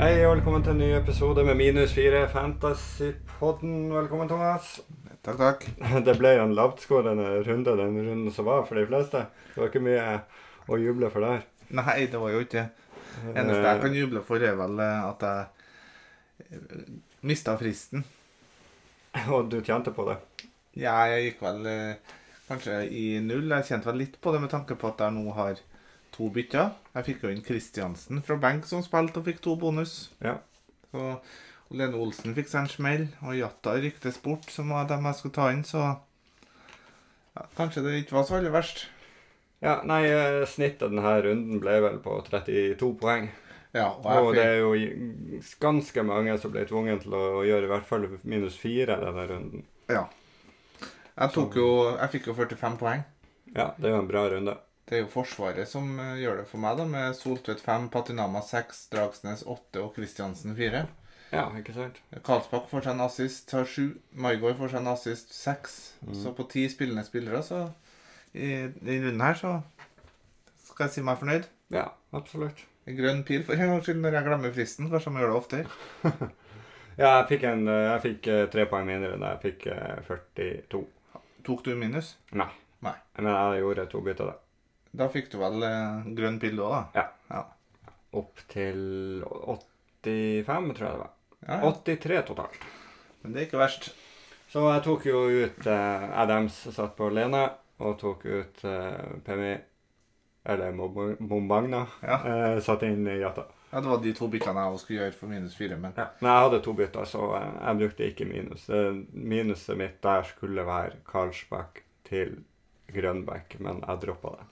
velkommen til en ny episode med Minus 4 Fantasypodden. Velkommen, Thomas. Takk, takk. Det ble jo en lavtskårende runde, den runden som var for de fleste. Det var ikke mye å juble for der. Nei, det var jo ikke det. Eh. Eneste jeg kan juble for, er vel eh, at jeg mista fristen. Eh, Og du tjente på det. Ja, jeg gikk vel eh, kanskje i null. Jeg kjente vel litt på det med tanke på at jeg nå har to bytter. Jeg fikk jo inn Kristiansen fra benk som spilte og fikk to bonus. Ja. Så og Lene Olsen fikk seg en smell, og Jatta ryktes bort som var dem jeg skulle ta inn, så ja, Kanskje det ikke var så aller verst. Ja, nei, eh, snittet denne runden ble vel på 32 poeng. Ja, og jeg Og fikk- det er jo i- ganske mange som ble tvunget til å gjøre i hvert fall minus 4 denne runden. Ja. Jeg, tok jo, jeg fikk jo 45 poeng. Ja, det er jo en bra runde. Det er jo Forsvaret som eh, gjør det for meg, da, med Soltvedt 5, Patinama 6, Dragsnes 8 og Kristiansen 4. Ja, ikke sant? Karlsbakk får seg en assist, har 7. Maigård får seg en assist, 6. Så på 10 spillende spillere, så i, i runden her, så skal jeg si meg fornøyd. Ja, absolutt. En grønn pil for en gangs skyld når jeg glemmer fristen. Kanskje jeg må gjøre det oftere. Ja, jeg fikk, en, eh, jeg fikk eh, tre poeng mindre enn jeg fikk eh, 42. Tok du minus? Nei. Nei. Men jeg gjorde to bytter, da. Da fikk du vel eh, grønn pil da, da? Opp til 85, tror jeg det var. Ja, ja. 83 totalt. Men det er ikke verst. Så jeg tok jo ut eh, Adams, satt på Lene, og tok ut eh, Pemi, eller Mo- Mombagna, Ja. eh, satt inn i Jata. Ja, det var de to byttene jeg også skulle gjøre for minus 4, men Ja. Men jeg hadde to bytter, så eh, jeg brukte ikke minus. Det- Minuset mitt der skulle være Karlsbakk til Grønbekk, men jeg droppa det.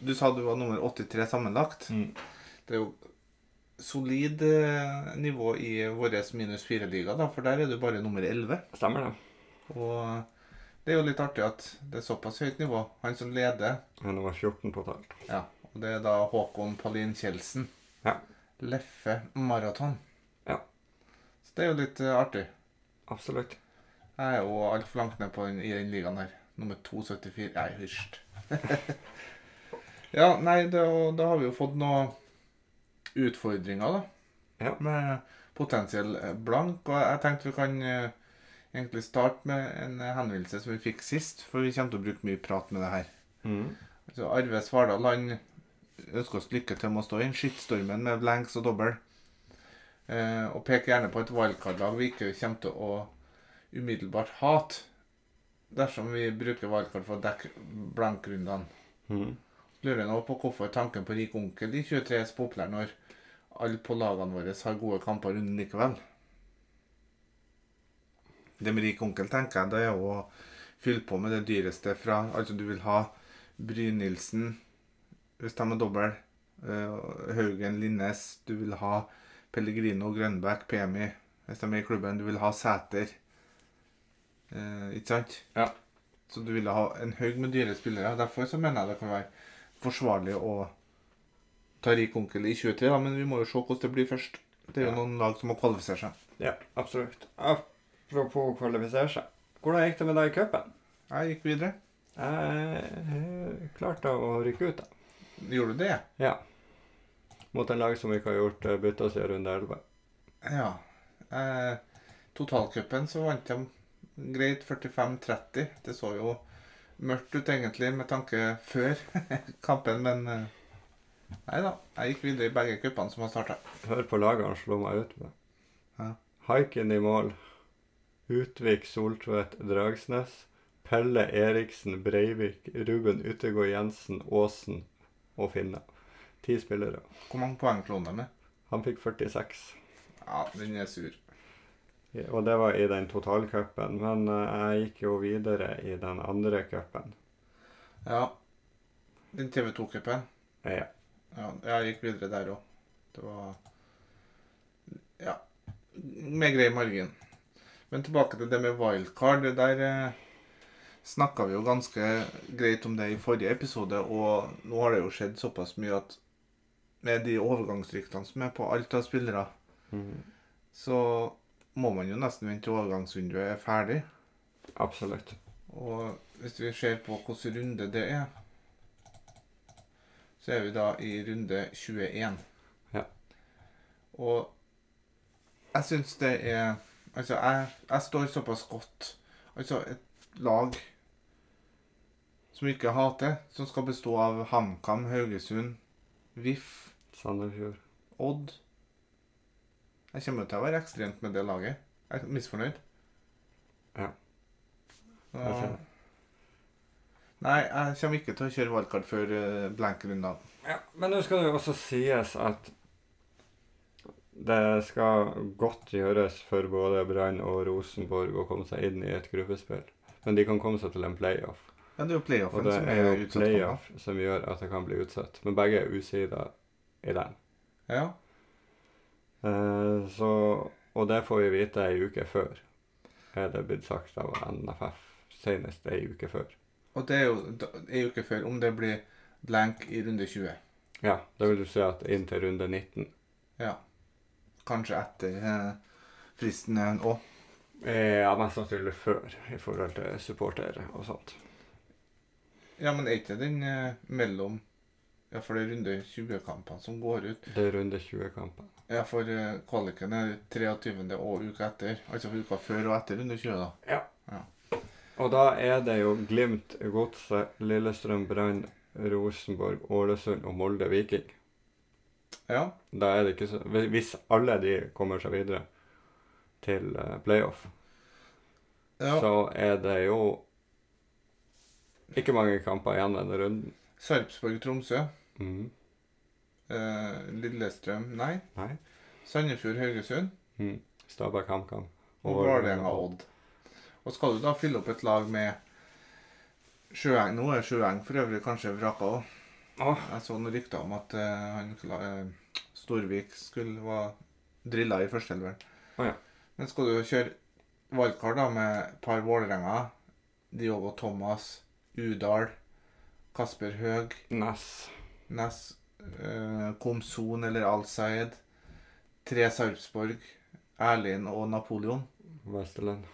Du sa du var nummer 83 sammenlagt. Mm. Det er jo solid eh, nivå i vår minus 4-liga, da, for der er du bare nummer 11. Stemmer det? Og det er jo litt artig at det er såpass høyt nivå. Han som leder, Men det var 14 totalt. ja, og det er da Håkon Palin Kjeldsen. Ja. Leffe Maraton. Ja. Så det er jo litt eh, artig. Absolutt. Jeg er jo altfor langt ned på den, i den ligaen her. Nummer 274. Nei, hysj. ja, nei, da, da har vi jo fått noen utfordringer, da. Ja. Med potensiell eh, blank. Og jeg tenkte vi kan eh, egentlig starte med en eh, henvendelse som vi fikk sist, for vi kommer til å bruke mye prat med det her. Mm. Så Arve Svardal han ønsker oss lykke til med å stå i skyttstormen med blanks og dobbel. Eh, og peker gjerne på et wildcard-lag vi ikke kommer til å umiddelbart hate dersom vi bruker wildcard for å dekke blankrundene. Mm. Lurer nå på hvorfor tanken på rik onkel i 23 er så populær når alle på lagene våre har gode kamper i runden likevel. Det med rik onkel tenker jeg det er jo å fylle på med det dyreste fra Altså du vil ha Brynildsen hvis de er dobbel, eh, Haugen Linnes, du vil ha Pellegrino Grønbæk Pemi hvis de er i klubben, du vil ha Sæter. Eh, ikke sant? Ja. Så du ville ha en haug med dyre spillere. Derfor så mener jeg det kan være forsvarlig å ta rik onkel i 23, da, men vi må jo se hvordan det blir først. Det er jo Ja. noen lag som må kvalifisere seg. Ja, absolutt. Apropos å kvalifisere seg. Hvordan gikk det med deg i cupen? Jeg gikk videre. Jeg eh, klarte å rykke ut, da. Gjorde du det? Mot en lag som ikke har gjort eh, bytte siden runde 11. Ja. Eh, totalcupen så vant de greit 45-30. Det så jo mørkt ut egentlig med tanke før kampen, men eh, Nei da. Jeg gikk videre i begge cupene som har starta. Hør på laget han slo meg ut med. Ja. Haiken i mål. Utvik, Soltvedt, Dragsnes. Pelle Eriksen, Breivik, Ruben Utegård Jensen, Aasen og Finne. Ti spillere. Hvor mange poeng slo de med? Han fikk 46. Ja, den er sur. Og det var i den totalcupen. Men eh, jeg gikk jo videre i den andre cupen. Ja. Den TV2-cupen. Eh, Ja. Ja, jeg gikk videre der òg. Det var Ja. Med grei margin. Men tilbake til det med wildcard. Det der eh, snakka vi jo ganske greit om det i forrige episode, og nå har det jo skjedd såpass mye at med de overgangsryktene som er på alt av spillere, Mhm. så må man jo nesten vente til overgangsvinduet er ferdig. Absolutt. Og hvis vi ser på hvilken runde det er, så er vi da i runde 21. Ja. Og jeg syns det er Altså, jeg, jeg står såpass godt. Altså, et lag som ikke hater, som skal bestå av HamKam, Haugesund, VIF, Sandefjord. Odd Jeg kommer til å være ekstremt med det laget. Jeg er misfornøyd. Ja. Så- Jeg ser det. Nei, jeg kommer ikke til å kjøre wildcard før eh, blank-runden. Ja, men nå skal det jo også sies at det skal godt gjøres for både Brann og Rosenborg å komme seg inn i et gruppespill. Men de kan komme seg til en playoff. Ja, det er jo Og playoffen det som er er jo utsatt. for nå. playoff som gjør at det kan bli utsatt. Men begge er usida i den. Ja. Eh, så, og det får vi vite ei uke før, er det blitt sagt av NFF. Senest ei uke før. Og det er jo da- er jo ikke før om det blir blank i runde 20. Ja, det vil du si at inntil runde 19. Ja. Kanskje etter eh, fristen òg. Eh, Ja, mest sannsynlig før, i forhold til supportere og sånt. Ja, men er ikke den eh, mellom Ja, for det er runde 20-kampene som går ut. Det er runde 20-kampen. Ja, for eh, kvaliken er 23. og uka etter. Altså for uka før og etter runde 20, da. Og da er det jo Glimt, Godset, Lillestrøm, Brann, Rosenborg, Ålesund og Molde Viking. Ja. Da er det ikke så hvis- Hvis alle de kommer seg videre til eh, playoff, ja. så er det jo ikke mange kamper igjen denne runden. Sarpsborg-Tromsø. Mhm. Eh, Lillestrøm, nei. Nei. Sandefjord-Haugesund. Mhm. Stabæk, HamKam Og Vålerenga-Odd. Og skal du da fylle opp et lag med Sjøeng Nå er Sjøeng for øvrig kanskje vraka òg. Åh. Jeg så noen rykter om at eh, han Kla- eh, Storvik skulle var drilla i førsteelveren. Å ja. Men skal du kjøre valgkart da med par Vålerenga, Diogo Thomas, Udal, Kasper Høeg Ness. Ness, eh, Komson eller Al-Sayed, Tre Sarpsborg, Erlin og Napoleon. Vesterland.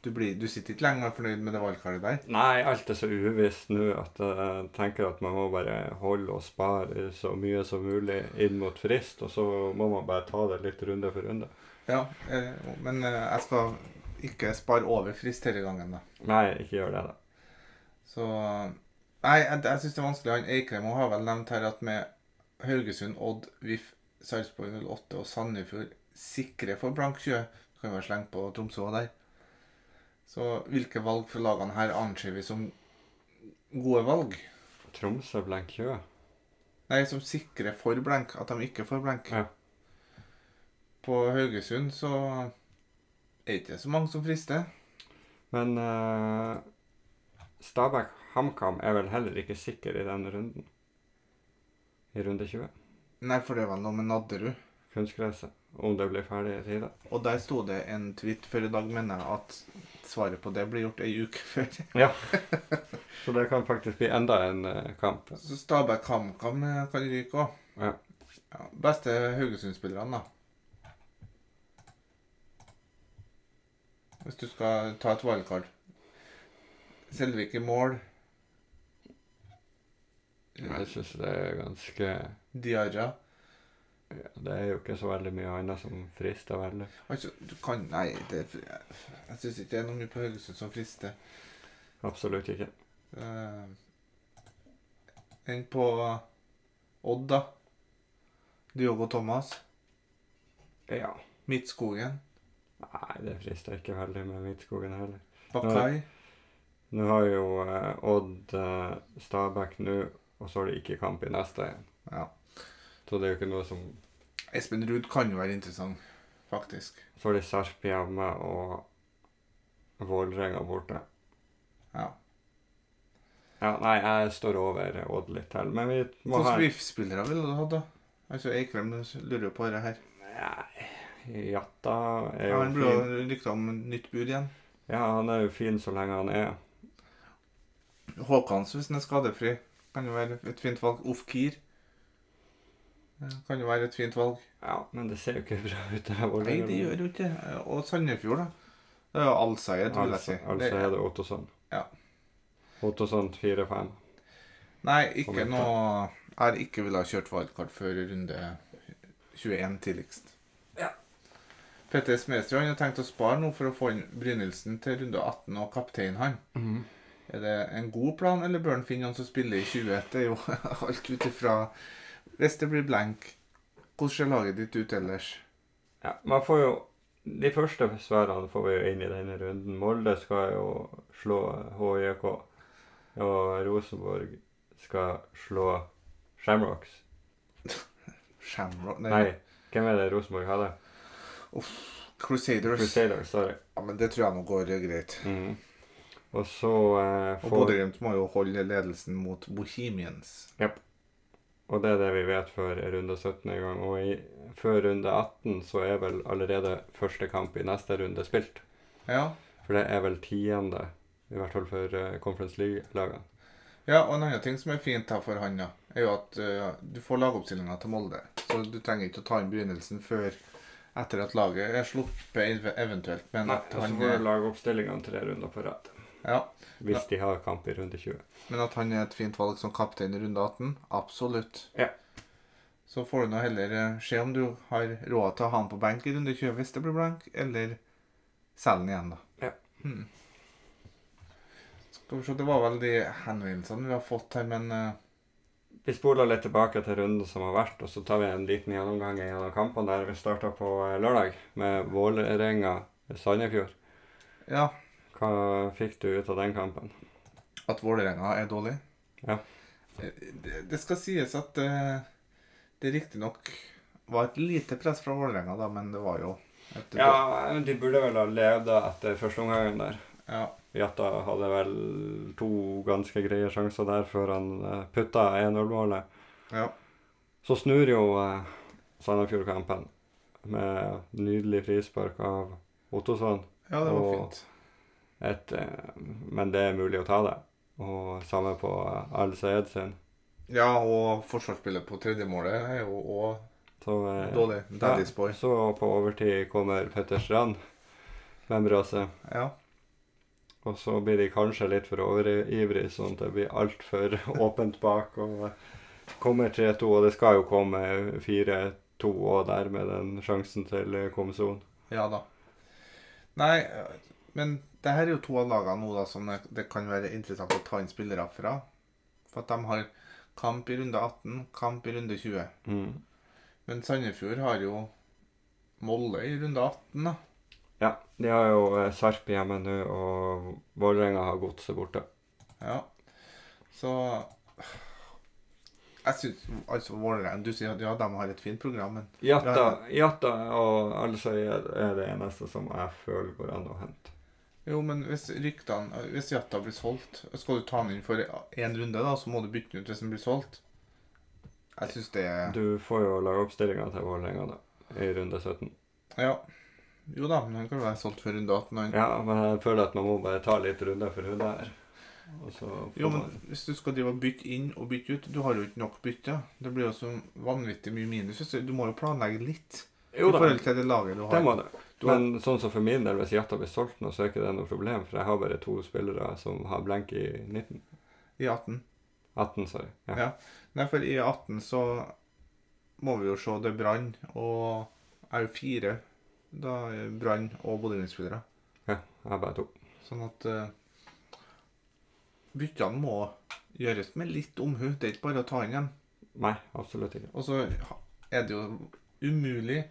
Du, blir, du sitter ikke lenger fornøyd med det valgkartet der. Nei, alt er så uvisst nå at eh, jeg tenker at man må bare holde og spare så mye som mulig inn mot frist, og så må man bare ta det litt runde for runde. Ja, eh, men eh, jeg skal ikke spare over frist denne gangen, da. Nei, ikke gjør det, da. Så Nei, jeg, jeg syns det er vanskelig. Han Eikrem har vel nevnt her at med Haugesund, Odd, VIF, Sarpsborg 08 og Sandefjord sikre for blank 20 Kan være slengt på Tromsø også der. Så hvilke valg fra lagene her anser vi som gode valg? Tromsø blank kjø. Nei, som sikrer for blank, at de ikke får blank. Ja. På Haugesund så er det ikke så mange som frister. Men eh, Stabæk HamKam er vel heller ikke sikker i denne runden. I runde 20. Nei, for det var noe med Nadderud. Kunstgresset. Om det blir ferdig i tide. Og der sto det en tweet før i dag, mener jeg, at svaret på det blir gjort ei uke før. Så det kan faktisk bli enda en eh, kamp. Så Stabæk HamKam eh, kan ryke òg. Ja. Ja, beste Haugesund-spillerne, da. Hvis du skal ta et wildcard. Selvik i mål. Jeg syns det er ganske ja, Diarra. Det er jo ikke så veldig mye annet som frister veldig. Altså, du kan Nei, det, jeg, jeg syns ikke det er noe mye på Haugesund som frister. Absolutt ikke. Eh, Enn på Odd, da. Diogo Thomas. Ja. Midtskogen. Nei, det frister ikke veldig med Midtskogen heller. Bakai. Nå har jo eh, Odd eh, Stabæk nå, og så har de ikke kamp i neste igjen. Ja. Så det er jo ikke noe som Espen Ruud kan jo være interessant, faktisk. Så har de Sarp hjemme og Vålerenga borte. Ja. Ja, nei, jeg står over Odd litt til, men vi må ha Hvilke VIF-spillere ville du hatt, da? Altså, Eikrem lurer jo på det her. Nei, Jatta er Ja, jo han ble fin. jo rykta om nytt bud igjen. Ja, han er jo fin så lenge han er. Håkans, hvis han er skadefri, kan jo være et fint valg. Ofkir eh, kan jo være et fint valg. Ja, men det ser jo ikke bra ut. det her Nei, Vålerenga. det gjør jo ikke det. Og Sandefjord, da. Det er jo Alsaid, vil jeg si. Altså, altså er det Ottosson. Ja. Ottosson 4-5. Nei, Kom ikke igjen, noe Jeg har ikke ville ha kjørt wildcard før runde 21 tidligst. Ja. Petter Smedstrø han har tenkt å spare nå for å få inn Brynildsen til runde 18 og kaptein han. Er det en god plan, eller bør han finne noen som spiller i 20? Det er jo alt ut ifra Hvis det blir blank, hvordan ser laget ditt ut ellers? Ja, man får jo De første svarene får vi jo inn i denne runden. Molde skal jo slå HJK. Og Rosenborg skal slå Shamrocks. Shamrock Nei, hvem er det Rosenborg hadde? Crusaders. Crusaders, sorry. Ja, men det tror jeg nå går greit. Mhm. Og så eh, Og får Bodø-Glimt må jo holde ledelsen mot Bohemians. Og det er det vi vet før runde 17 en gang. Og i, før runde 18 så er vel allerede første kamp i neste runde spilt. Ja. For det er vel tiende, i hvert fall for eh, Conference League-lagene. ja, og en annen ting som er fint her for han, da, er jo at eh, du får lagoppstillinga til Molde. Så du trenger ikke å ta inn begynnelsen før etter at laget er sluppet, ev- eventuelt. Men Nei, altså, at, og så han, får du er, lage oppstillingene tre runder på rad. ja, Hvis de har kamp i runde 20. men at han er et fint valg som kaptein i runde 18? Absolutt. Ja. Så får du nå heller eh, se om du har råd til å ha han på benk i runde 20 hvis det blir blank, eller selge han igjen, da. Ja. Hmm. Skal vi se, Det var vel de henvendelsene vi har fått her, men eh, Vi spoler litt tilbake til runden som har vært, og så tar vi en liten gjennomgang gjennom kampene der vi starta på eh, lørdag med Vålerenga-Sandefjord. ja, Hva fikk du ut av den kampen? At Vålerenga er dårlig? Eh, Ja. Det, det skal sies at eh, det riktignok var et lite press fra Vålerenga, da, men det var jo et Ja, eh, de burde vel ha levd etter første omgangen der. ja. Jata hadde vel to ganske greie sjanser der før han eh, putta 1-0-målet. ja. Så snur jo eh, Sandefjord-kampen med nydelig frispark av Ottosson. Ja, det var Og- fint. Et, eh, men det er mulig å ta det. Og samme på eh, Al Sayed sin. Ja, og forsvarsspillet på tredje målet er jo òg Så, eh, dårlig. Daddy's boy. så på overtid kommer Petter Strand med en brase. Ja. Og så blir de kanskje litt for overivrig, sånn at det blir altfor åpent bak. Og eh, kommer 3-2, og det skal jo komme 4-2 og der med den sjansen til eh, Komson. Ja da. Nei, eh, men det her er jo to av lagene nå da som det, det kan være interessant å ta inn spillere fra. For at de har kamp i runde 18, kamp i runde 20. Mm. Men Sandefjord har jo Molle i runde 18, da. Ja, de har jo eh, Sarp hjemme nå, og Vålerenga har Godset borte. Ja. Så Jeg syns altså Vålerenga Du sier at ja, de har et fint program, men Jatta, Jatta og Alsøya er det eneste som jeg føler går an å hente. Jo, men hvis ryktene Hvis Jatta blir solgt, skal du ta han inn for én runde, da, så må du bytte den ut hvis den blir solgt? Jeg syns det Du får jo lagoppstillinga til Vålerenga, da. I runde 17. Ja. Jo da, men han kan være solgt før runde 18. Han. Ja, men jeg føler at man må bare ta litt runder for runde her. Og så får Jo, men man hvis du skal drive og bytte inn og bytte ut Du har jo ikke nok bytte. Det blir jo så vanvittig mye minus. hvis Du du må jo planlegge litt. Jo I da, forhold til det laget du har. det må det. Du har- Men sånn som for min del, hvis Jata blir solgt nå, så er ikke det noe problem. For jeg har bare to spillere som har blank i 19. I 18. 18, sorry. Ja. Ja. Nei, for i 18 så må vi jo se det er Brann og er jo fire da er Brann og Bodø-Glimt-spillere. Jeg har bare to. Sånn at eh, byttene må gjøres med litt omhu. Det er ikke bare å ta inn dem. Nei, absolutt ikke. Og så er det jo umulig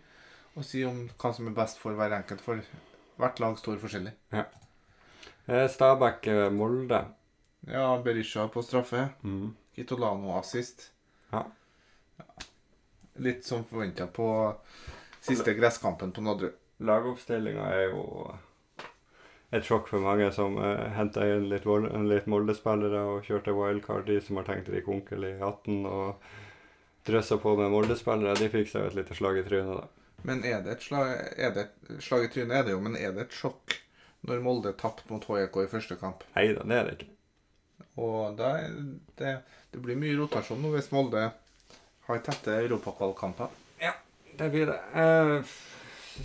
å si om hva som er best for hver enkelt, for hvert lag står forskjellig. Eh, Stabæk eh, Molde. Ja, Berisha på straffe. Kitolano assist. Ja. Litt som forventa på siste gresskampen på Nadderud. Lagoppstillinga er jo eh, et sjokk for mange som eh, henta inn litt, Vol- litt Molde-spillere og kjørte wildcard, de som har tenkt Rik Onkel i 18 og drøssa på med Molde-spillere. De fikk seg jo et lite slag i trynet, da. Men er det et slag, er det et slag i trynet, er det jo, men er det et sjokk når Molde tapte mot HJK i første kamp? Nei da, det er det ikke. Og da er det, det blir mye rotasjon nå hvis Molde har tette europakvalkamper. Det blir det. Eh,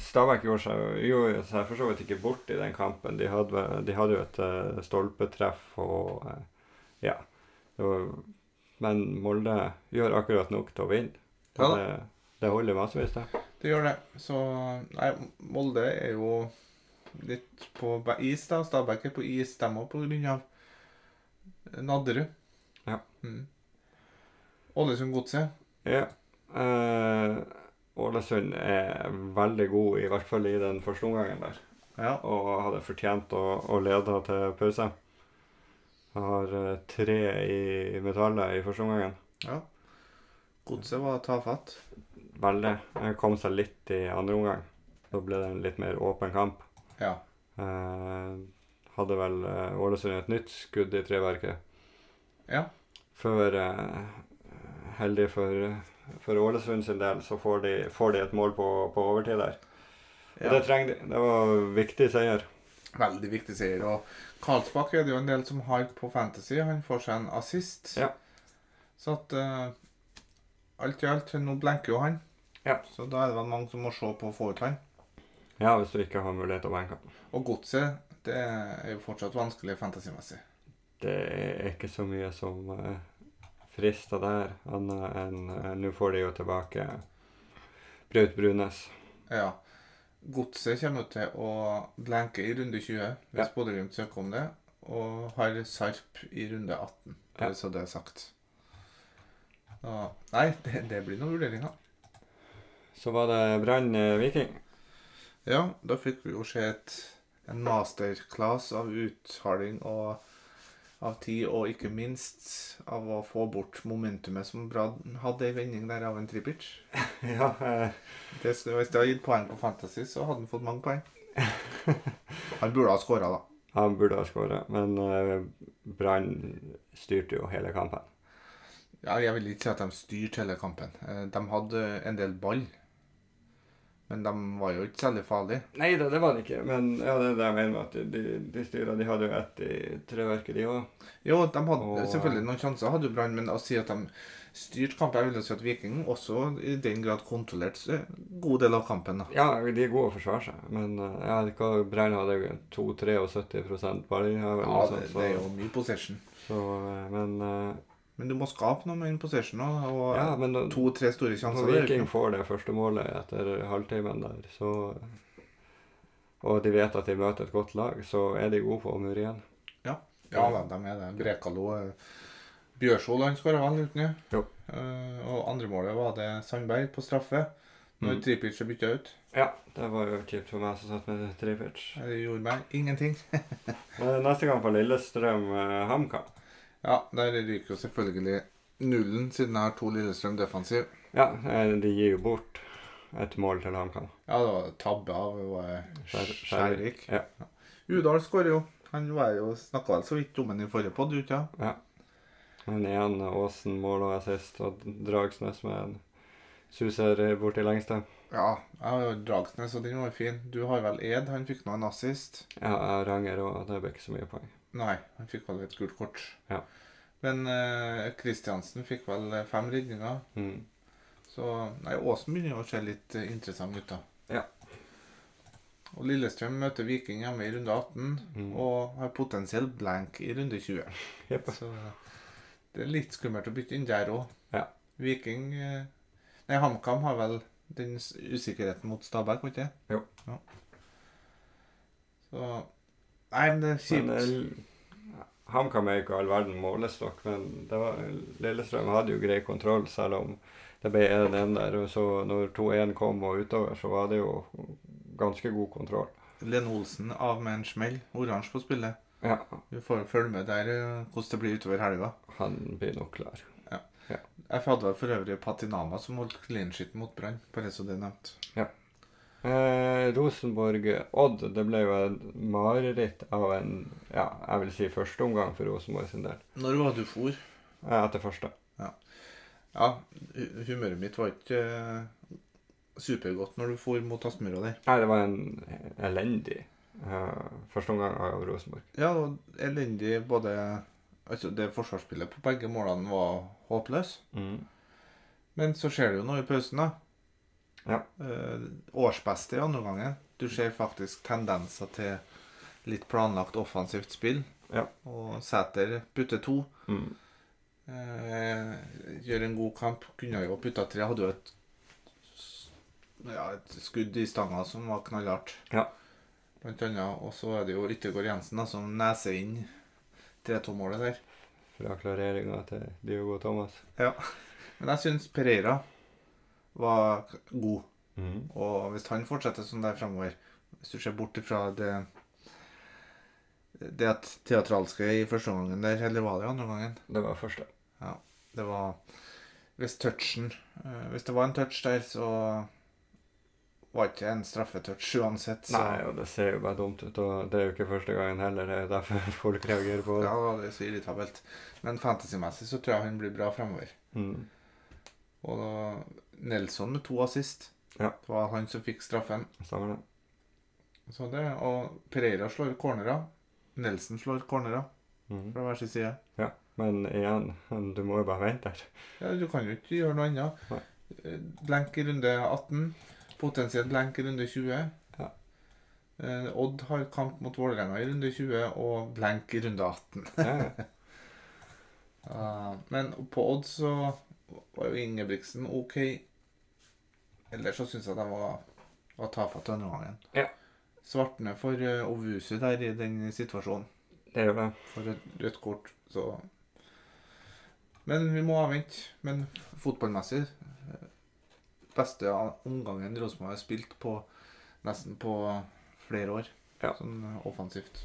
Stabæk gjorde seg, gjorde seg for så vidt ikke bort i den kampen. De hadde, vel- de hadde jo et eh, stolpetreff og eh, Ja. Det var, men Molde gjør akkurat nok til å vinne. Ja da. Det, det holder massevis, det. Det gjør det. Så Nei, Molde er jo litt på be- is, da. Stabæk er på is, dem òg, pga. Nadderud. Ja. Mm. Ålesund-Godset. Ja. Eh, Ålesund er veldig god, i hvert fall i den første omgangen der. Ja. Og hadde fortjent å, å lede til pause. Har eh, tre i metallet i første omgangen. ja. Godset var tafatt. Veldig. Eh, Kom seg litt i andre omgang. Da ble det en litt mer åpen kamp. Ja. Eh, hadde vel eh, Ålesund et nytt skudd i treverket. Ja. Før eh, Heldig for, for Ålesund sin del, så får de, får de et mål på, på overtid der. Og ja. det trenger de. Det var viktig seier. Veldig viktig seier. Og Karlsbakk er det jo en del som har på Fantasy. Han får seg en assist. Ja. Så at eh, Alt i alt, nå blenker jo han. Ja. Så da er det vel mange som må se på og få ut han. Ja, hvis du ikke har mulighet til å benke. Og godset, det er jo fortsatt vanskelig fantasymessig. Det er ikke så mye som eh, frister der, annet enn eh, Nå får de jo tilbake Braut Brunes. Ja. Godset kommer jo til å blenke i runde 20 hvis Ja. Bodø-Glimt søker om det, og har Sarp i runde 18, Ja. bare så det er sagt. Da, nei, det, det blir noen vurderinger. Så var det Brann eh, Viking. Ja, da fikk vi jo se et, en masterclass av uttaling og av tid, og ikke minst av å få bort momentumet som Brann hadde i vending der av en Tripic. ja, eh, Det skulle, hvis det hadde gitt poeng på Fantasy, så hadde han fått mange poeng. Han burde ha skåra, da. han burde ha skåra, men eh, Brann styrte jo hele kampen. Ja, jeg vil ikke si at de styrte hele kampen. Eh, De hadde en del ball, men de var jo ikke særlig farlige. Nei da, det var det ikke, men ja, det er det jeg mener med at de, de, de styra. De hadde jo ett i treverket, de òg. Jo, de hadde Og- eh, selvfølgelig noen sjanser, hadde jo Brann, men å si at de styrte kampen Jeg vil jo si at Viking også i den grad kontrollerte en god del av kampen. da. Ja, de er gode å forsvare seg, men eh, ja, hva- Brann hadde jo 2-73 bare. Ja, vel, Ja, noe det, sånt, så, det er jo mye possession. Så, eh, men eh, Men du må skape noe med den possession òg, og Ja, men da- to-tre store Når sjanser. det er jo ikke Viking får det første målet etter halvtimen der, så Og de vet at de møter et godt lag, så er de gode på å mure igjen. Ja Mm. da, de er det. Brekalo eh, Bjørsol han skåra vel uten det. Jo. Eh, og andremålet var det Sandberg på straffe. Når Mm. Tripic ble bytta ut. Ja, det var jo kjipt for meg som satt med Tripic. Det gjorde meg ingenting. Eh, Neste kamp var Lillestrøm eh, HamKam. Ja, der ryker jo selvfølgelig nullen, siden jeg har to Lillestrøm defensiv. Ja, eh, de gir jo bort et mål til HamKam. Ja, det var tabbe av det var Skjær- Skjærvik. ja. Udal skårer jo. Han var jo snakka vel så vidt om han i forrige podd, gjorde han? Men igjen Åsen mål og assist, og Dragsnes med en suser eh, bort i lengste. Ja. Jeg har jo Dragsnes, og den var fin. Du har vel Ed? Han fikk nå en assist. Ja, jeg Ranger òg, det blir ikke så mye poeng. Nei, han fikk vel et gult kort. Ja. Men eh, Kristiansen fikk vel eh, fem redninger. Mm. Så nei, Åsen begynner jo å se litt eh, interessant ut, da. Ja. Og Lillestrøm møter Viking hjemme i runde 18 Mm. og har potensiell blank i runde 20. Jepp. Så det er litt skummelt å bytte inn der òg. Ja. Viking eh, Nei, HamKam har vel den s- usikkerheten mot Stabæk, var ikke det? Jo. Ja. Så Nei, men det er Men, kjipt. eh, HamKam er jo ikke all verden målestokk, men det var, Lillestrøm hadde jo grei kontroll, selv om det ble 1-1 der. og Så når 2-1 kom og utover, så var det jo ganske god kontroll. Lene Olsen av med en smell. Oransje på spillet. Ja, Vi får følge med der eh, hvordan det blir utover helga. han blir nok klar. Jeg hadde vel for øvrig Patinama som holdt clean shit mot Brann, bare så det er nevnt. Eh, Rosenborg-Odd, det ble jo et mareritt av en ja, jeg vil si første omgang for Rosenborg sin del. Når var du for? Eh, etter første. Ja, hu- humøret mitt var ikke eh, supergodt når du for mot Aspmyra der. Nei, det var en elendig eh, første omgang av Rosenborg. Ja, og elendig både Altså, det forsvarsspillet på begge målene var håpløst. Mm. Men så skjer det jo noe i pausen, da. Ja. Eh, årsbeste i andre gangen. Du ser faktisk tendenser til litt planlagt offensivt spill. Ja. Og Sæter putter to. Mm. Eh, gjør en god kamp. Kunne jo putta tre. Hadde jo et s- ja, et skudd i stanga som var knallhardt. Ja. Blant annet. Og så er det jo Yttergård Jensen da, som neser inn 3-2-målet der. Fra klareringa til Diogo Thomas. Men jeg syns Pereira var k- god. Og hvis han fortsetter sånn der fremover Hvis du ser bort ifra det det at teatralske i første omgangen der, eller var det i andre omgangen Det var første. Det var Hvis touchen eh, Hvis det var en touch der, så var ikke det en straffetouch uansett. Så, Nei, og det ser jo bare dumt ut, og det er jo ikke første gangen heller. Det er jo derfor folk reagerer på det. Ja, det er så irritabelt. Men fantasymessig så tror jeg han blir bra fremover. Mm. Og da Nelson med to assist. Ja. Det var han som fikk straffen. Stemmer det. Så det, og Pereira slår cornerer. Nelson slår cornerer Mm. fra hver sin side. Men igjen, du må jo bare vente her. Ja, Du kan jo ikke gjøre noe annet. Nei. Eh, Blenk i runde 18. Potensielt blenk i runde 20. Ja. Eh, Odd har kamp mot Vålerenga i runde 20 og blenk i runde 18. Ja, ja. Ah, men på Odd så var jo Ingebrigtsen OK. Ellers så syns jeg de var, var tafatt denne gangen. Ja. Svartne for eh, Ovusu der i den situasjonen. det er jo det. For rødt, rødt kort, så Men vi må avvente. Men fotballmessig eh, Beste omgangen Rosenborg har spilt på nesten på flere år. Ja. Sånn eh, offensivt.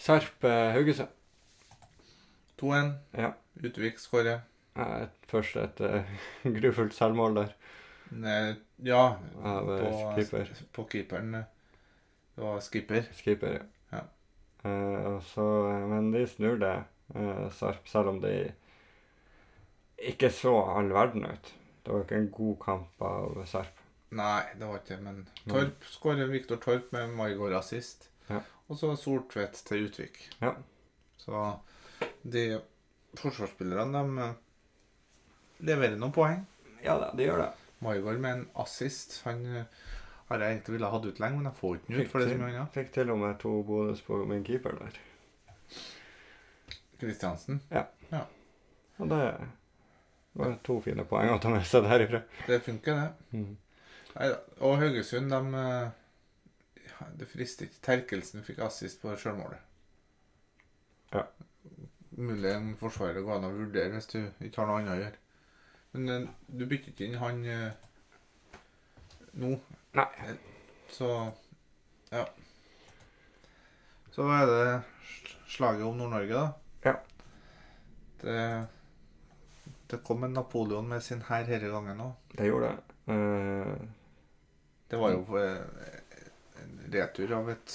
Sarp eh, Haugesund. 2-1. Ja. Utvik skårer. Eh, Først et eh, grufullt selvmål der Nei, Ja, av eh, på, keeper. på keeperen. eh, Det var skipper. Skipper, ja. Ja. Eh, og så, men de snur det, eh, Sarp, selv om de ikke så all verden ut. Det var ikke en god kamp av Sarp. Nei, det var ikke men Torp skårer Viktor Torp med Maigård assist. Ja. Og så Soltvedt til Utvik. Ja. Så de forsvarsspillerne, de eh, leverer noen poeng. Ja da, de gjør det. Maigård med en assist. Han eh, har jeg egentlig ville hatt ut lenge, men jeg får ikke den Fikk ut for det til. som er annet. Fikk til og med to bonus på min keeper der. Kristiansen. Og det var to fine poeng å ta med seg derifra. Det funker, det. Mm. Neida. Og Haugesund, de eh, ja, Det frister ikke. Terkelsen fikk assist på sjølmålet. Ja. Mulig en forsvarer går an å vurdere hvis du ikke har noe annet å gjøre. Men eh, du bytter ikke inn han eh, nå. Nei. Eh, Så ja. Så er det sl- slaget om Nord-Norge, da. Ja. Det, det kom en Napoleon med sin hær denne gangen òg. Det gjorde det. Eh, Det var jo eh, en retur av et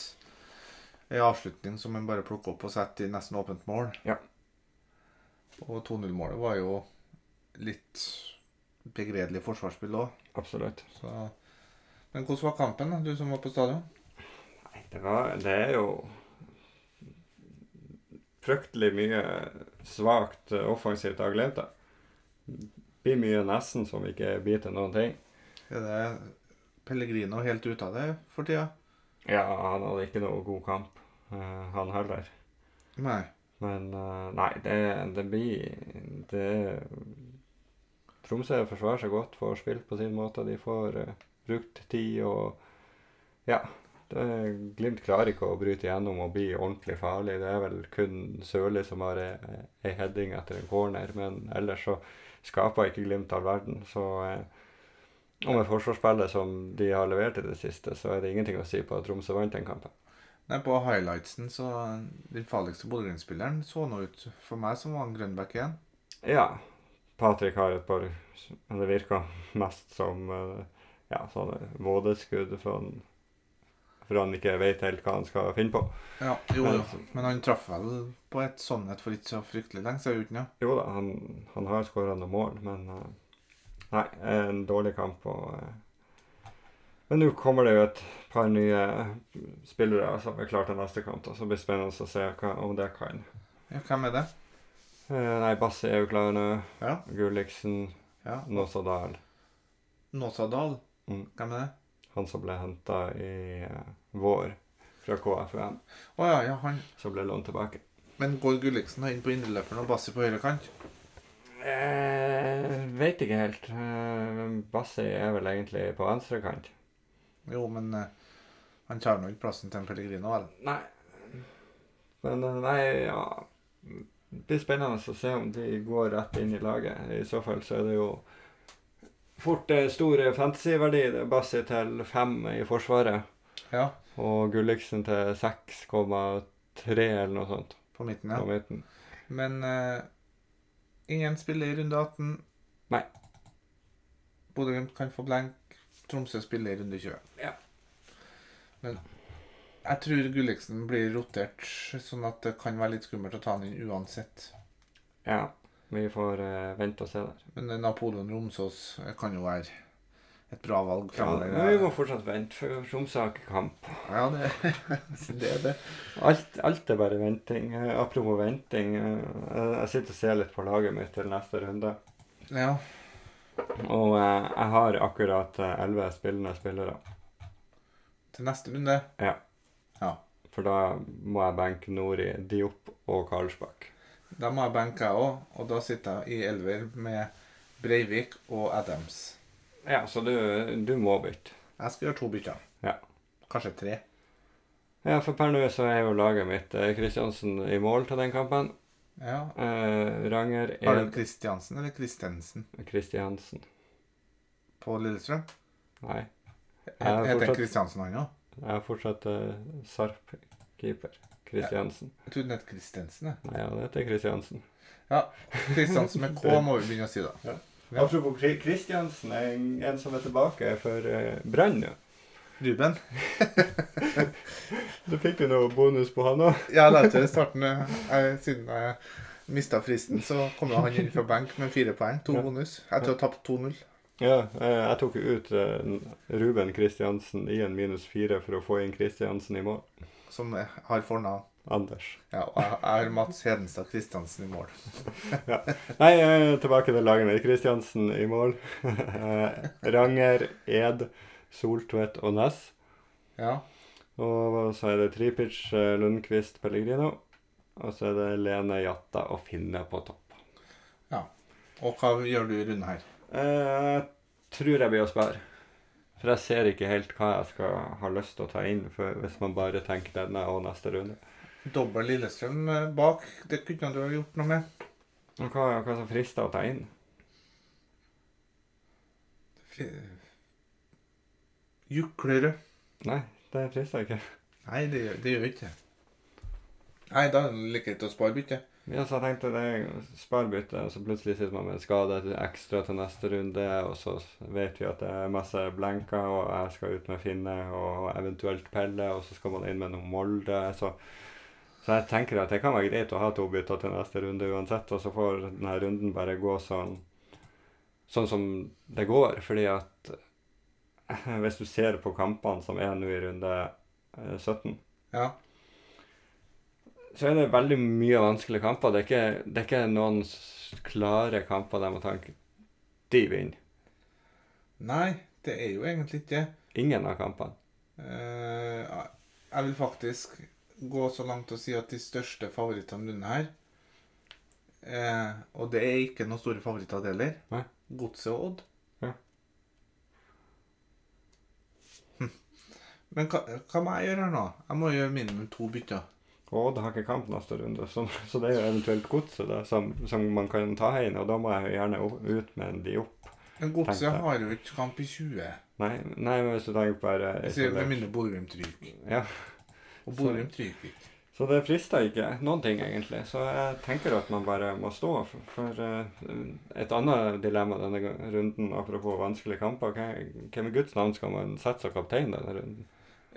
en avslutning som en bare plukket opp og satte i nesten åpent mål. Ja. Og 2-0-målet var jo litt begredelig forsvarsspill òg. absolutt. Men hvordan var kampen, da, du som var på stadion? Nei, det, var, det er jo fryktelig mye svakt eh, offensivt av Glimt. da. Blir mye nesten som ikke blir til noen ting. Er det Pellegrino helt ute av det for tida? Ja, han hadde ikke noe god kamp, eh, han heller. Nei. Men eh, nei, det, det blir det, Tromsø forsvarer seg godt, får spilt på sin måte. De får eh, brukt tid og Ja. Det, Glimt klarer ikke å bryte gjennom og bli ordentlig farlig. Det er vel kun Sørli som har ei ei heading etter en corner, men ellers så skaper ikke Glimt all verden. Så eh, og med forsvarsspillet som de har levert i det siste, så er det ingenting å si på at Tromsø vant den kampen. Nei, På highlightsen så Den farligste Bodø-Glimt-spilleren så nå ut for meg som var en Grønbæk igjen. Ja. Patrick har et par Det virker mest som eh, ja, sånne vådeskudd for han, for han ikke vet helt hva han skal finne på. Ja, jo, Men- jo. Men han traff vel på et sannhet for ikke så fryktelig lenge siden, gjorde han ikke? Jo da, han, han har skåra noen mål, men eh, Nei, en dårlig kamp. Og, eh, men nå kommer det jo et par nye spillere som er klare til neste kamp, da, så det blir spennende å se hva, om det kan. Ja, hvem er det? Eh, Nei, Bassi er jo klar nå. Ja. Gulliksen, ja. Nåsadal. Nåsadal. Mm. Hvem er det? Han som ble henta i eh, vår fra KFUM, Å ja, ja, han. som ble lånt tilbake. Men går Gulliksen inn på indreløperen og Bassi på høyre kant? Eh, Veit ikke helt. Eh, Bassi er vel egentlig på venstre kant. Jo, men eh, han tar nå ikke plassen til en Pellegrino, vel? Nei. Men eh, nei, ja Det blir spennende å se om de går rett inn i laget. I så fall så er det jo fort eh, stor fantasyverdi. Det er Bassi til fem i forsvaret. Ja, Og Gulliksen til 6,3 eller noe sånt på midten, på ja. midten. Men eh, ingen spiller i runde 18. Nei. Bodø-Glimt kan få blenk. Tromsø spiller i runde 20. Ja. Men jeg tror Gulliksen blir rotert, sånn at det kan være litt skummelt å ta han inn uansett. Ja. Vi får eh, vente og se der. Men eh, Napoleon Romsås eh, kan jo være et bra valg. Ja, fremover. men eh, vi må fortsatt vente, for Tromsø har ikke kamp. ja det, det er det. Alt, alt er bare venting. Eh, Apropos venting, eh, jeg sitter og ser litt på laget mitt til neste runde. Ja. Og eh, jeg har akkurat eh, elleve spillende spillere, Til neste runde. for da må jeg benke Nori, Diop og Karlsbakk. Da må jeg benke jeg òg, og da sitter jeg i elver med Breivik og Adams. Ja, så du, du må bytte. Jeg skal gjøre to bytter. Ja. Kanskje tre. Ja, for per nå så er jo laget mitt eh, Kristiansen i mål til den kampen. Ja. Eh, Ranger, Har du Ed, Kristiansen eller Kristensen Kristiansen på Lillestrøm? Nei, Het- Heter han fortsatt- Kristiansen han òg? jeg fortsetter Sarp keeper. Kristiansen. Jeg trodde han het Kristensen. jeg. Nei, ja, det heter Kristiansen. Kristiansen med K må vi begynne å si, da. Ja. Apropos Kri- Kristiansen, en, en som er tilbake for eh, Brann nå. Ruben. Du fikk jo noe bonus på han òg. Jeg lærte i starten, eh, jeg, siden jeg mista fristen, så kom jo han inn fra benk med fire poeng. To Ja. bonus. Jeg tror jeg tapte 2-0. Ja, eh, jeg tok jo ut eh, Ruben Kristiansen i en minus fire for å få inn Kristiansen i mål. Som eh, har fornavn. Anders. Ja, og jeg jeg har Mats Hedenstad Kristiansen i mål. Nei, eh, tilbake til laget mitt. Kristiansen i mål. Eh, Ranger, Ed, Soltvedt og Næss. Ja. Og så er det Tripic, eh, Lundqvist, Pellegrino. Og så er det Lene Jatta og Finne på topp. Og hva gjør du i runden her? Eh, Jeg tror jeg blir å spare. For jeg ser ikke helt hva jeg skal ha lyst til å ta inn for hvis man bare tenker denne og neste runde. Dobbel Lillestrøm eh, bak, det kunne du ha gjort noe med. Men hva, hva som frister å ta inn? Fri- Juklerød. Nei, det frister ikke. Nei, det, gjør- det gjør ikke det. Nei, da er det like greit å spare byttet. Ja, så jeg tenkte det er sparebytte, og så plutselig sitter man med en skade til- ekstra til neste runde, og så vet vi at det er masse blenker, og jeg skal ut med Finne og eventuelt Pelle, og så skal man inn med noe Molde, så så jeg tenker at det kan være greit å ha to bytter til neste runde uansett, og så får denne runden bare gå sånn sånn som det går, fordi at hvis du ser på kampene som er nå i runde eh, 17, Ja. så er det veldig mye vanskelige kamper. Det er ikke, det er ikke noen s- klare kamper der man tenker de vinner. Nei, det er jo egentlig ikke det. Ingen av kampene. Eh, jeg vil faktisk gå så langt og si at de største favorittene denne her eh, Og det er ikke noen store favoritter det heller. Nei. Godset og Odd. Ja. Hm. Men hva, hva må jeg gjøre her nå? Jeg må gjøre minimum to bytter. Og Odd har ikke kamp neste runde, så, så det er jo eventuelt godset da, som, som man kan ta inn. Og da må jeg jo gjerne o- ut med en Diop. Men Tenk Godset deg. har jo ikke kamp i 20. Nei, nei, men hvis du tenker bare Jeg sier Med mindre Bodø-Glimt ryker. Ja. Og Bodø-Glimt ryker ikke. Så det frister ikke noen ting, egentlig. Så jeg tenker at man bare må stå for, for eh, et annet dilemma denne ga- runden, apropos vanskelige kamper. Hvem- Hvem i guds navn skal man sette som kaptein denne runden?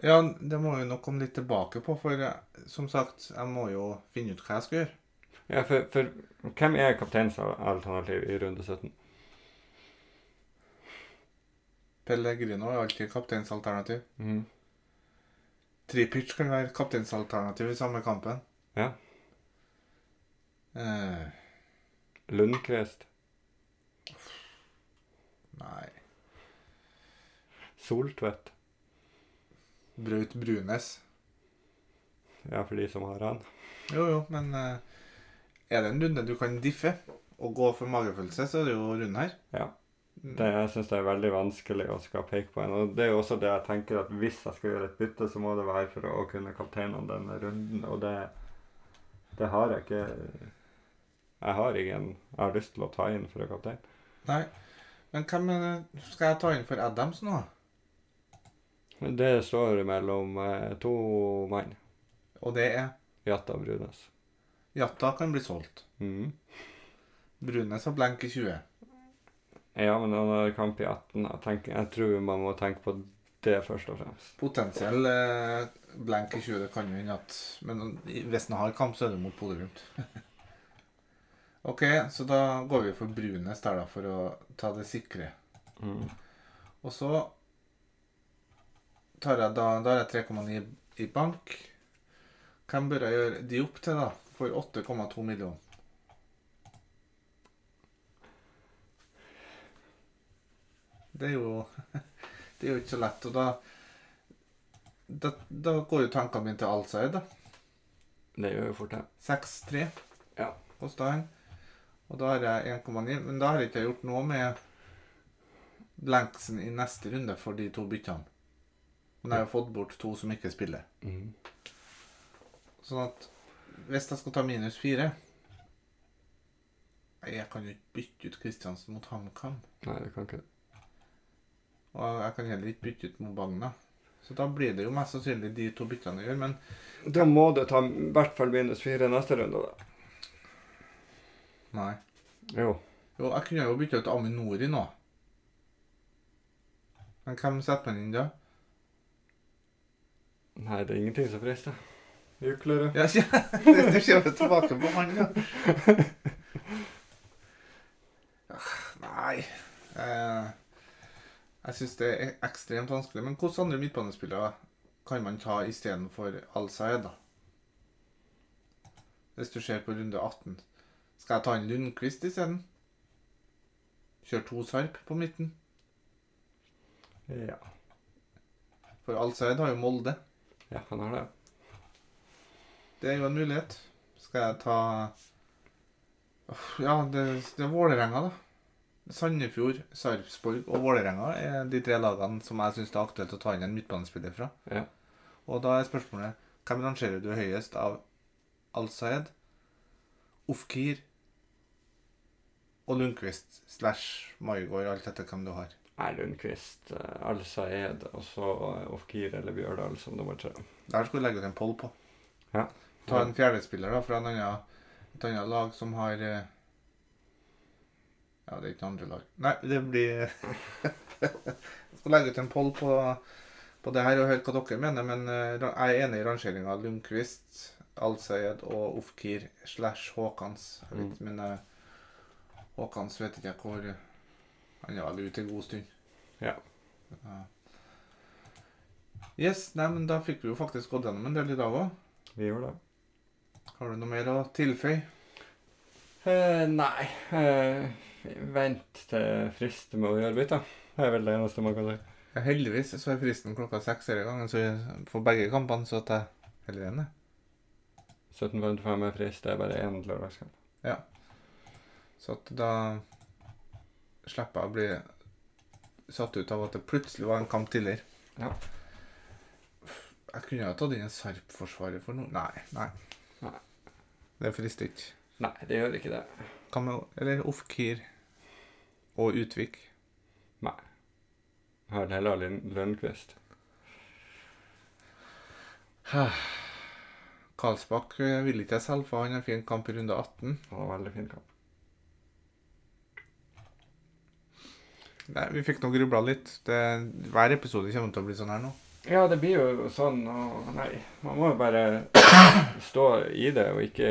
Ja, det må vi nok komme litt tilbake på, for eh, som sagt, jeg må jo finne ut hva jeg skal gjøre. Ja, for, for hvem er kapteinsalternativ i runde 17? Pellegrino er alltid kapteinsalternativ. Mhm. Tripic kan være kapteinsalternativ i samme kampen. Ja. Eh, Lundqvist, nei Soltvedt. Braut Brunes. Ja, for de som har han. Jo, jo, men eh, er det en runde du kan diffe? å gå for magefølelse, så er det jo rund her. Ja. Mm. Det, jeg syns det er veldig vanskelig å skal peke på en. Og det er jo også det jeg tenker at hvis jeg skal gjøre et bytte, så må det være for å kunne kapteine denne runden, og det, det har jeg ikke Jeg har ingen jeg har lyst til å ta inn for å kapteine. Nei. Men hvem er det skal jeg ta inn for Adams nå? Det står mellom eh, to mann. Og det er Jatta og Brunes. Jatta kan bli solgt. Mhm. Brunes har blenk i 20. Ja, men han har kamp i 18. Jeg, tenker, jeg tror man må tenke på det først og fremst. Potensiell eh, blenk i 20, det kan jo hende at Men hvis han har kamp, så er det mot Bodø Glimt. OK, så da går vi for Brunes der, da, for å ta det sikre. Mhm. Og så tar jeg da, da har jeg 3,9 i bank. Hvem bør jeg gjøre de opp til, da? For 8,2 millioner. Det er jo Det er jo ikke så lett, og da Da, da går jo tankene mine til Alzheimer, da. Det gjør jo fort det. 6-3 Ja. kosta han. Og da har jeg 1,9, men da har jeg ikke gjort noe med Blanksen i neste runde for de to byttene. Men jeg har jo fått bort to som ikke spiller. Mhm. Sånn at hvis jeg skal ta minus fire Nei, Jeg kan jo ikke bytte ut Kristiansen mot HamKam. Nei, det kan ikke det. Og jeg kan heller ikke bytte ut Mobagna. Så da blir det jo mest sannsynlig de to byttene jeg gjør. Men Da må du ta i hvert fall minus fire neste runde, da. nei. Jo. Jo, jeg kunne jo bytte ut Aminori nå. Men hvem setter man inn da? Nei, det er ingenting som frister. Juklere. Ja, ja. Du kommer tilbake på han, ja. Ah, Nei eh, Jeg syns det er ekstremt vanskelig. Men hvilke andre midtbanespillere kan man ta istedenfor Al-Sayed, da? Hvis du ser på runde 18. Skal jeg ta en Lundqvist isteden? Kjøre to Sarp på midten? Ja. For Al-Sayed har jo Molde. ja, han har det. Det er jo en mulighet. Skal jeg ta Uff, Ja, det, det er Vålerenga, da. Sandefjord, Sarpsborg og Vålerenga er de tre lagene som jeg syns det er aktuelt å ta inn en midtbanespiller fra. Ja. Og da er spørsmålet hvem rangerer du høyest av Al-Sayed, Ofkir og Lundqvist slash Maigård, alt etter hvem du har? Er Lundqvist, eh, Al-Saed og så eh, Ofkir eller Bjørdal som nummer tre. Der skulle du legge ut en poll på. Ja. Ta en fjerdespiller da, fra en annen, et annet lag som har eh, Ja, det er ikke noen andre lag. Nei, det blir Jeg skal legge ut en poll på, på det her og høre hva dere mener, men eh, ra- jeg er enig i rangeringa Lundqvist, Al-Sayed og Ofkir slash Håkans. Jeg Mm. vet, Men eh, Håkans vet ikke jeg hvor Han er vel ute en god stund. Ja. Ja. Yes, nei, men da fikk vi jo faktisk gått gjennom en del i dag òg. Vi gjør det. Har du noe mer å tilføye? Eh, nei. Eh, vent til frist med å gjøre bytter. Det er vel det eneste man kan si. Ja, heldigvis så er fristen klokka seks hele gangen, så jeg- for begge kampene så at jeg heller ene. 17.55 er frist. Det er bare én lørdagskamp. Så at da slipper jeg å bli satt ut av at det plutselig var en kamp tidligere. Ja. Jeg kunne jo ha tatt inn en Sarp-forsvarer for noe. Nei, nei. Nei. Det frister ikke. Nei, det gjør ikke det. Hva med Eller Ofkir og Utvik. Jeg har heller Lund- Lundqvist. Karlsbakk eh, vil ikke jeg selge, for han har fin kamp i runde 18. Han har veldig fin kamp. Nei, vi fikk nå grubla litt. Det, hver episode kommer til å bli sånn her nå. Ja, det blir jo sånn og Nei. Man må jo bare stå i det og ikke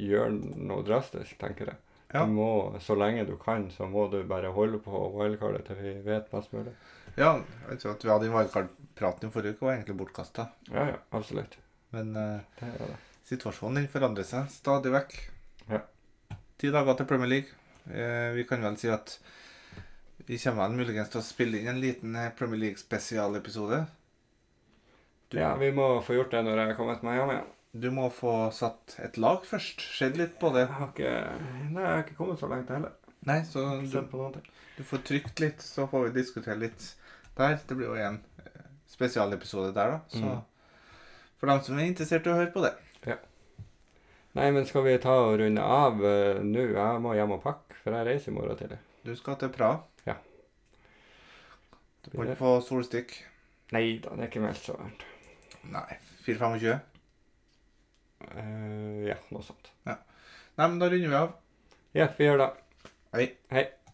gjøre noe drastisk, tenker jeg. Ja. Du må, så lenge du kan, så må du bare holde på og wildcardet til vi vet mest mulig. Ja, jeg tror at vi hadde en wildcard-praten i forrige uke, var egentlig bortkasta. Ja, ja, absolutt. Men eh, Det er det. situasjonen den forandrer seg stadig vekk. Ja. Ti dager til Premier League. Eh, vi kan vel si at vi kommer vel muligens til å spille inn en liten eh, Premier League-spesialepisode. Du- Ja, vi må få gjort det når jeg har kommet meg hjem igjen. Du må få satt et lag først. Skjedd litt på det. Jeg har ikke, nei, jeg har ikke kommet så langt heller. Nei, så du, Bestemt på noen ting. du får trykt litt, så får vi diskutere litt der. Det blir jo en eh, spesialepisode der, da. Så Mm. for dem som er interessert i å høre på det. Nei, men skal vi ta og runde av eh, nå? Jeg må hjem og pakke, for jeg reiser i morgen tidlig. Du skal til Praha. Ja. Du må ikke få solstikk. Nei da, det er ikke meldt så varmt. Nei. 4-25. Eh, ja, noe sånt. Nei, men da runder vi av. Ja, vi gjør det. Hei. Hei.